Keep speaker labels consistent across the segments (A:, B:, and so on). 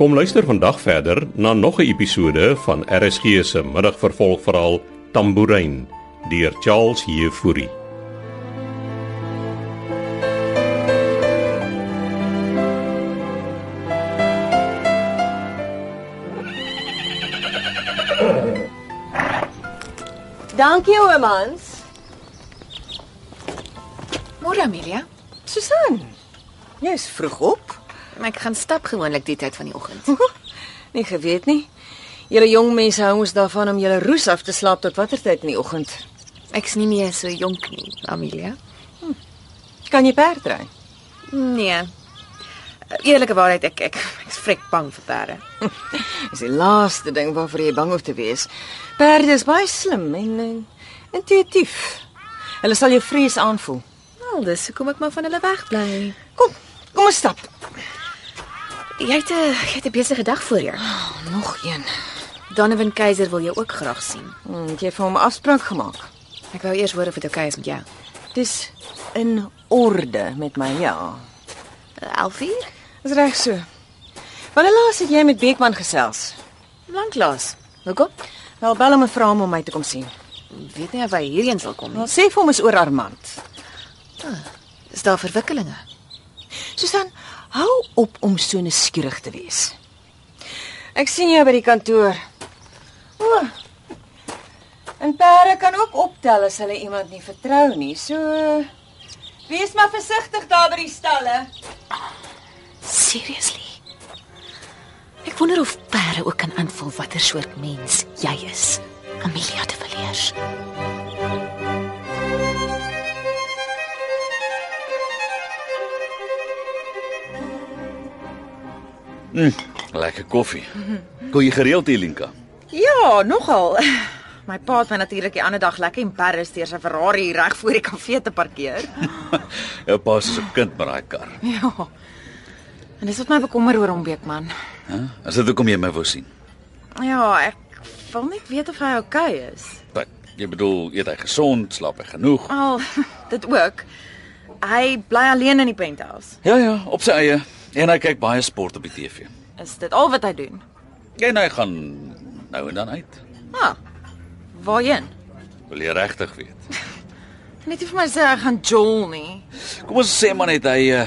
A: Kom luister vandag verder na nog 'n episode van RSG se middagvervolgverhaal Tambourine deur Charles Heffury.
B: Dankie oomans.
C: Môre Amelia.
B: Susan. Jy's vroeg op.
C: Ek gaan stap gewoonlik die tyd van die oggend.
B: Nie Nee, geweet nie. Julle jong mense hou ons daarvan om julle roes af te slaap tot watter tyd in die oggend.
C: Ek's nie meer so jonk nie, Amelia.
B: Kan jy perd ry?
C: Nee. Eerlike waarheid, ek ek ek's vrek bang vir perde.
B: Dis die laaste ding waarvoor jy bang hoef te wees. Perde is baie slim en, en intuïtief. Hulle sal jou vrees aanvoel.
C: Wel, dis hoekom ek maar van hulle weg bly.
B: Kom, kom ons stap.
C: Jy het 'n jy het 'n besige dag voor jou.
B: Nog een.
C: Donovan Keiser wil jou ook graag sien.
B: Hmm, Het jy vir hom 'n afspraak gemaak?
C: Ek wou eers hoor of dit oukei is met jou.
B: Dis in orde met my, ja.
C: 11 uur?
B: Dis reg so. Wanneer laas het jy met Beekman gesels?
C: Lank laas. Hoekom?
B: Wel bel hom en vra hom om my te kom sien.
C: Ek weet nie of hy hierheen sal kom nie.
B: Wel sê vir hom is oor Armand.
C: Ah. Is daar verwikkelinge?
B: Susan, hou op om so nuuskierig te wees. Ek sien jou by die kantoor. O. En perde kan ook optel as hulle iemand nie vertrou nie. So eh, wees maar versigtig daar by die stalle.
C: Seriously? Ek wonder of perde ook kan aanvoel watter soort mens jy is. Amelia de Villiers.
D: Lekker koffie. Kom jy gereeld, Elinka?
E: Ja, nogal. My pa het my natuurlik die ander dag lekker in Paris deur sy Ferrari reg voor die kafee te parkeer.
D: Jou pa is 'n kind met daai kar.
E: Ja. En dis wat my bekommer oor hom Beekman.
D: Hæ? As dit hoekom jy my wou sien.
E: Ja, ek wil net weet of hy oukei okay is.
D: Wat? Jy bedoel, eet hy gesond, slaap hy genoeg?
E: Al dit ook. Hy bly alleen in die penthouse.
D: Ja ja, op sy eie. En hy kyk baie sport op die TV.
E: Is dit al wat hy doen?
D: En hy gaan nou en dan uit.
E: Ah. Waarheen?
D: Wil jy regtig weet?
E: Net nie vir my sê hy gaan jol nie.
D: Kom ons sê maar net hy uh,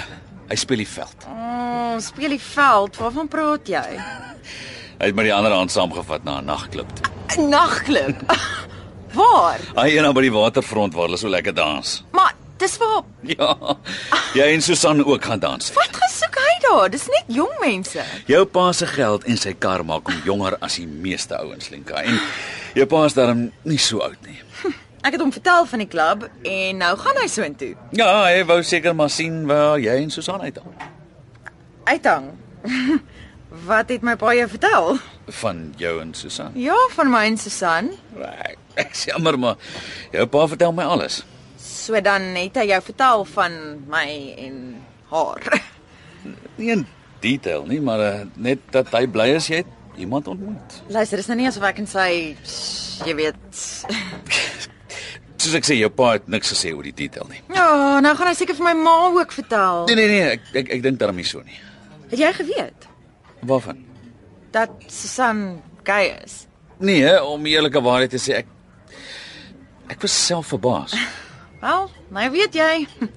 D: hy speel die veld.
E: Ons oh, speel die veld. Waarvan praat jy?
D: Hy het met die ander aan saamgevat na 'n nagklub. toe.
E: 'n Nagklub. Waar?
D: Hy en dan by die waterfront waar hulle so lekker dans.
E: Maar dis waar
D: Ja. Jy en Susan ook gaan dans.
E: Wat gesoek hy daar? Dis net jong mense.
D: Jou pa se geld en sy kar maak hom jonger as die meeste ouens, Lenka. En jou pa is darm nie so oud nie.
E: Ek het hom vertel van die klub en nou gaan hy soontoe.
D: Ja, hy wou seker maar sien waar jy en Susan uithang.
E: Uithang. Wat het my pa jou vertel?
D: Van jou en Susan.
E: Ja, van my en Susan.
D: Ek, ek is jammer maar jou pa vertel my alles.
E: So dan het hy jou vertel van my en haar.
D: Nie in detail nie, maar uh, net dat hy bly is jy het iemand ontmoet.
E: Luister, dis nou nie asof ek en sy, jy weet.
D: Soos ek sê, jou pa het niks gesê oor die detail nie.
E: Ja, nou gaan hy seker vir my ma ook vertel.
D: Nee nee nee, ek ek, ek dink daarmee so nie.
E: Het jy geweet
D: Waarvan?
E: dat Susan gay is?
D: Nee, hè, om die eerlike waarheid te sê, ek ek was self verbaas.
E: Wel, nou weet jy.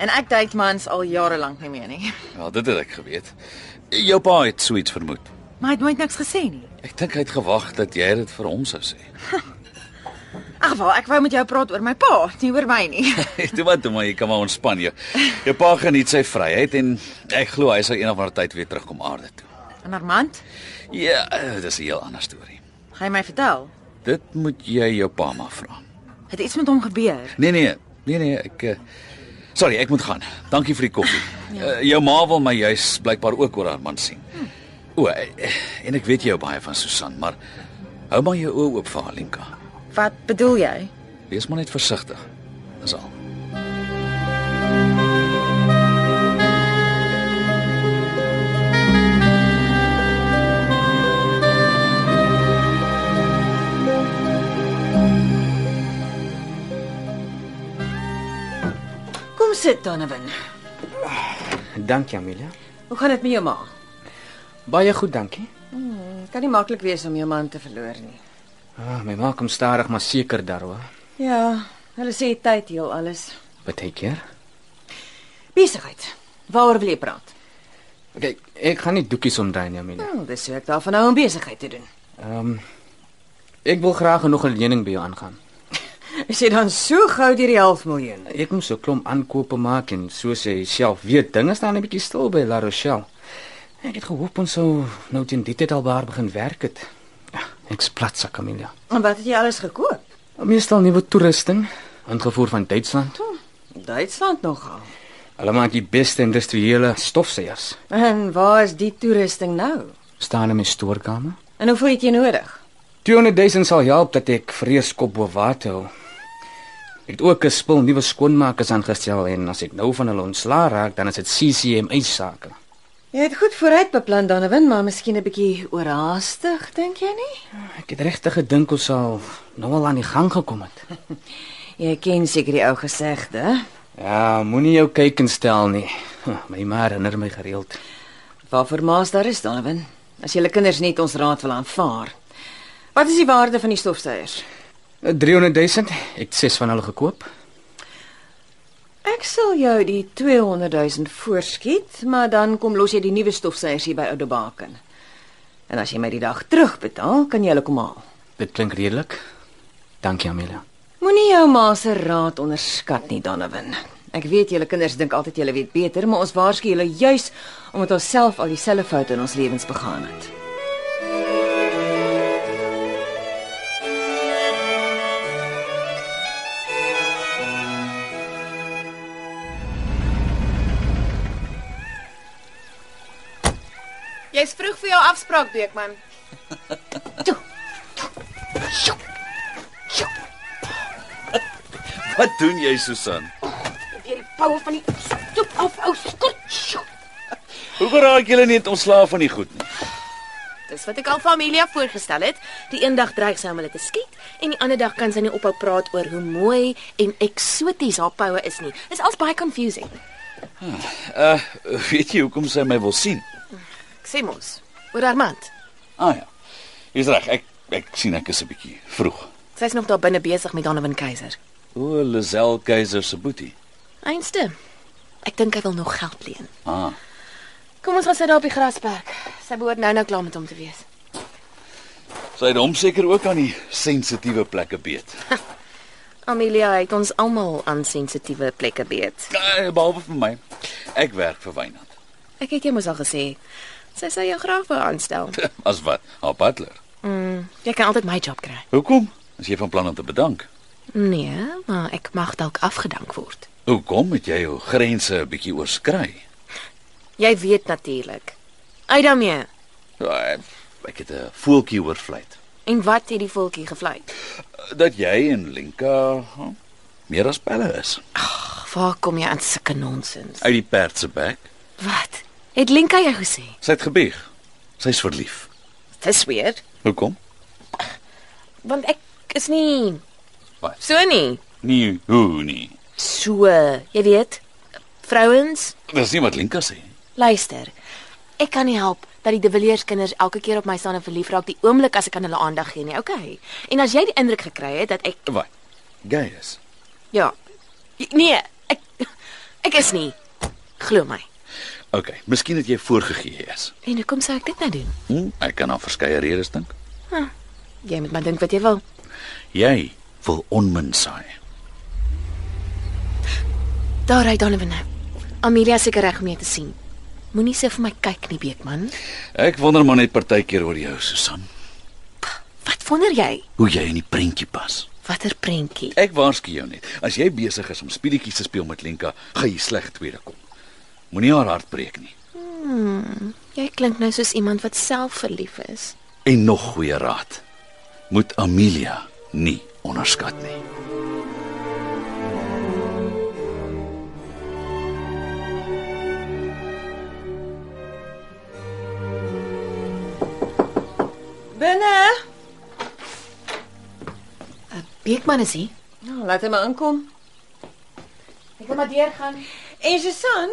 E: En ek date mans al jare lank nie meer nie.
D: Ja, dit het ek geweet. Jou pa het so iets vermoed.
E: Maar hy het nooit niks gesê nie.
D: Ek dink hy het gewag dat jy dit vir hom sou sê.
E: Ag wel, ek wou met jou praat oor my pa, nie oor my nie.
D: Toe wat, toe maar jy kan maar ontspan jou. Jou pa geniet sy vryheid en ek glo hy sal eendag van tyd weer terugkom aarde toe.
E: En Armand,
D: Ja, eh, dis 'n heel ander storie.
E: hy het my vertel.
D: Dit moet jy jou pa maar vra.
E: Het iets met hom gebeur?
D: Nee nee, nee nee, ek eh, Sorry, ek moet gaan. Dankie vir die koffie. Uh, jou ma wil my juis blykbaar ook oor haar man sien. O, eh, en ek weet jy hou baie van Susan, maar hou maar jou oë oop vir haar, Linka.
E: Wat bedoel jy?
D: Wees maar net versigtig. Dis al.
B: Kom sit Donovan.
F: Dankie Amelia.
B: Hoe gaan dit met jou ma?
F: Baie goed, dankie.
B: Dit kan nie maklik wees om jou man te verloor nie.
F: Ah, my maak hom stadig maar seker daaroor.
B: Ja, hulle sê tyd heel alles.
F: Partykeer.
B: Besigheid. Waaroor wil jy praat?
F: Kyk, ek gaan nie doekies omdraai nie, Amelia.
B: Nou, dis hoe ek daarvan hou om besigheid te doen.
F: Ehm um, ek wil graag nog 'n lening by jou aangaan.
B: Is jy dan so gou deur die half miljoen?
F: Ek moes so klomp aankope maak en soos jy self weet, dinge staan 'n bietjie stil by La Rochelle. Ek het gehoop ons sou nou teen die tyd al waar begin werk het. Ja, ek's platsak, Amelia.
B: En wat het jy alles gekoop?
F: Meestal nuwe toerusting, ingevoer van Duitsland.
B: Duitsland nogal.
F: Hulle maak die beste industriële stofsuiers.
B: En waar is die toerusting nou?
F: Staan in my stoorkamer.
B: En hoeveel het jy nodig?
F: 200 000 sal help dat ek vreeskop bo water hou. Ek het ook 'n spul nuwe skoonmakers aangestel en as ek nou van hulle ontslaa raak, dan is dit CCMA sake.
B: Jy het goed vooruit beplan, Donovan, maar miskien 'n bietjie oorhaastig, dink jy nie?
F: Ek het regtig gedink ons sal nou al aan die gang gekom het.
B: Jy ken seker die ou gesegde,
F: Ja, moenie jou kyk en stel nie. My ma herinner my gereeld.
B: waarvoor maas daar is, Donovan. As julle kinders net ons raad wil aanvaar. Wat is die waarde van die stofsuiers?
F: 300 000, ek het 6 van hulle gekoop.
B: Ek sal jou die 200 000 voorskiet, maar dan kom los jy die nuwe stofsuiers hier by Oude Baken. En as jy my die dag terugbetaal, kan jy hulle kom haal.
F: Dit klink redelik. Dankie, Amelia.
B: Moenie jou ma se raad onderskat nie, Donovan. Ek weet julle kinders dink altyd julle weet beter, maar ons waarsku julle juis omdat ons self al dieselfde foute in ons lewens begaan het.
E: Jy's vroeg vir jou afspraak, Beekman.
D: Wat doen jy, Susan?
C: Weer die poue van die stoep af, ou skort. Sjoe.
D: Hoekom raak julle nie ontslaaf van die goed nie?
C: Dis wat ek al vir Amelia voorgestel het. Die een dag dreig sy om hulle te skiet en die ander dag kan sy nie ophou praat oor hoe mooi en eksoties haar poue is nie. Dis als baie confusing.
D: Uh, weet jy hoekom sy my wil sien?
C: Ek sê mos, oor Armand.
D: Ah ja. Jy's reg. Ek ek sien ek is 'n bietjie vroeg.
C: Sy's nog daar binne besig met Donovan Keiser.
D: O, Lazel Keiser se boetie.
C: Einste. Ek dink hy wil nog geld leen.
D: Ah.
C: Kom ons gaan sit daar op die grasperk. Sy behoort nou-nou klaar met hom te wees.
D: Sy het hom seker ook aan die sensitiewe plekke beet.
C: Amelia het ons almal aan sensitiewe plekke beet.
D: Eh, Behalwe vir my. Ek werk vir Wynand.
C: Ek het jou mos al gesê. Sy sou jou graag wou aanstel.
D: As wat? Haar butler.
C: Mm, jy kan altyd my job kry.
D: Hoekom? As jy van plan om te bedank.
C: Nee, maar ek mag dalk afgedank word.
D: Hoekom het jy jou grense 'n bietjie oorskry?
C: Jy weet natuurlik. Uit daarmee.
D: Ja, Ek het 'n voeltjie oorvlieg
C: En wat het die voeltjie gevlei?
D: dat jy en Lenka huh, meer as pelle is.
C: Waar kom jy aan sulke nonsens?
D: Uit die perd se bek.
C: Wat? Het Linka jou gesê?
D: Sy het gebieg. Sy's verlief.
C: Dis weird,
D: Hoekom?
C: want ek is nie
D: Wat?
C: so nie.
D: Nee, hoe nie.
C: So, jy weet, vrouens,
D: Dis nie wat Lenka sê.
C: luister. Ek kan nie help dat die De Villiers kinders elke keer op my staan en verlief raak die oomblik as ek aan hulle aandag gee nie. Okay. En as jy die indruk gekry het dat ek
D: Wat? Gay is.
C: ja, nee, ek ek is nie. Glo my.
D: OK, miskien het jy voorgegee jy is.
C: En hoekom sou ek dit nou doen?
D: Hm? Ek kan aan verskeie redes dink.
C: Jy moet maar dink wat jy wil.
D: Jy wil onmin saai.
C: Daar ry Donovan nou. Amelia is seker reg om jou te sien. Moenie se vir my kyk nie, Beekman.
D: Ek wonder maar net partykeer oor jou, Susan,
C: Wat wonder jy?
D: hoe jy in die prentjie pas.
C: Watter prentjie?
D: Ek waarsku jou net, as jy besig is om speletjies te speel met Lenka, gaan jy sleg tweede kom. Moenie haar hart breek nie.
C: Jy klink nou soos iemand wat self verlief is.
D: En nog goeie raad. Moet Amelia nie onderskat nie.
B: Binne.
C: Beekman is hier.
B: Nou, laat hom aankom.
C: Ek wil maar deurgaan.
B: En Susan,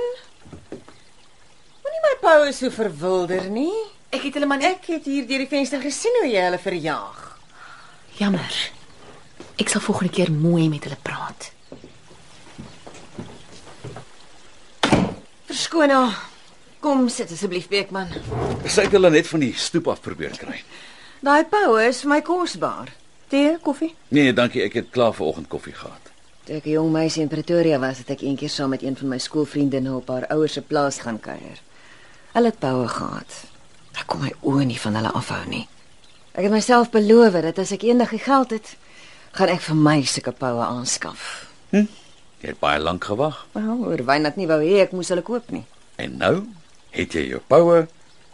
B: moenie my poue so verwilder nie.
C: Ek het hulle maar net
B: Ek het hier deur die venster gesien hoe jy hulle verjaag.
C: jammer. Ek sal volgende keer mooi met hulle praat.
B: Verskoon haar. Kom sit asseblief Beekman.
D: Sy het hulle net van die stoep af probeer kry.
B: Daai poue is vir my kosbaar. Tee, koffie?
D: Nee, dankie, ek het klaar vanoggend koffie gehad.
B: Toe ek 'n jong meisie in Pretoria was, het ek eendag saam met een van my skoolvriendinne op haar ouers se plaas gaan kuier. Hulle het poue gehad. Ek kon my oë nie van hulle afhou nie. Ek het myself beloof dat as ek eendag die geld het, gaan ek vir my sulke poue aanskaf.
D: Jy het baie lank gewag.
B: Wel, oor wyn dat nie wou hê ek moes hulle koop nie.
D: En nou het jy jou poue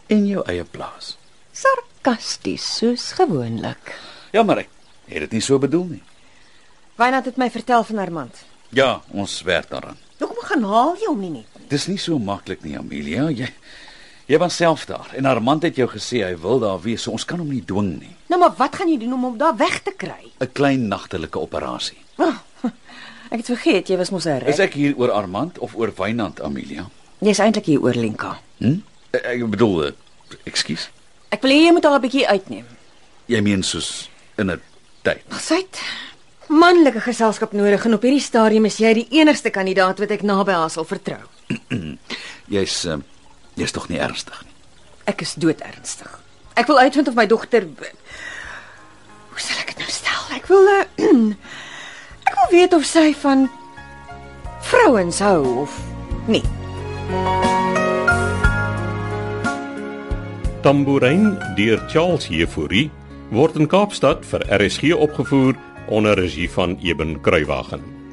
D: en jou eie plaas.
B: Sarkasties soos gewoonlik.
D: Jammer, ek het dit nie so bedoel nie.
B: Wynand het my vertel van Armand.
D: Ja, ons werk daaraan.
B: Hoekom gaan haal jy hom nie net?
D: Dis nie so maklik nie, Amelia. Jy jy was self daar en Armand het jou gesê hy wil daar wees, so ons kan hom nie dwing nie.
B: Nou maar wat gaan jy doen om hom daar weg te kry?
D: 'n Klein nagtelike operasie.
B: Oh, ek het vergeet jy was mos 'n
D: Is
B: reg.
D: ek hier oor Armand of oor Wynand, Amelia?
B: Jy's eintlik hier oor Lenka.
D: Hm? Ek- Ek bedoel, eh, ekskuus.
B: Ek wil hê jy moet haar 'n bietjie uitneem.
D: Jy meen soos in 'n tyd.
B: Sy het manlike geselskap nodig en op hierdie stadium is jy die enigste kandidaat wat ek naby haar sal vertrou.
D: Jy's ehm, jy's tog nie ernstig nie.
B: Ek is doodernstig. Ek wil uitvind of my dogter Hoe sal ek dit nou stel? Ek wil eh, ek wil weet of sy van vrouens hou of nie.
A: Tambourine deur Charles Heffouri word in Kaapstad vir RSG opgevoer onder regie van Eben Kruiwagen.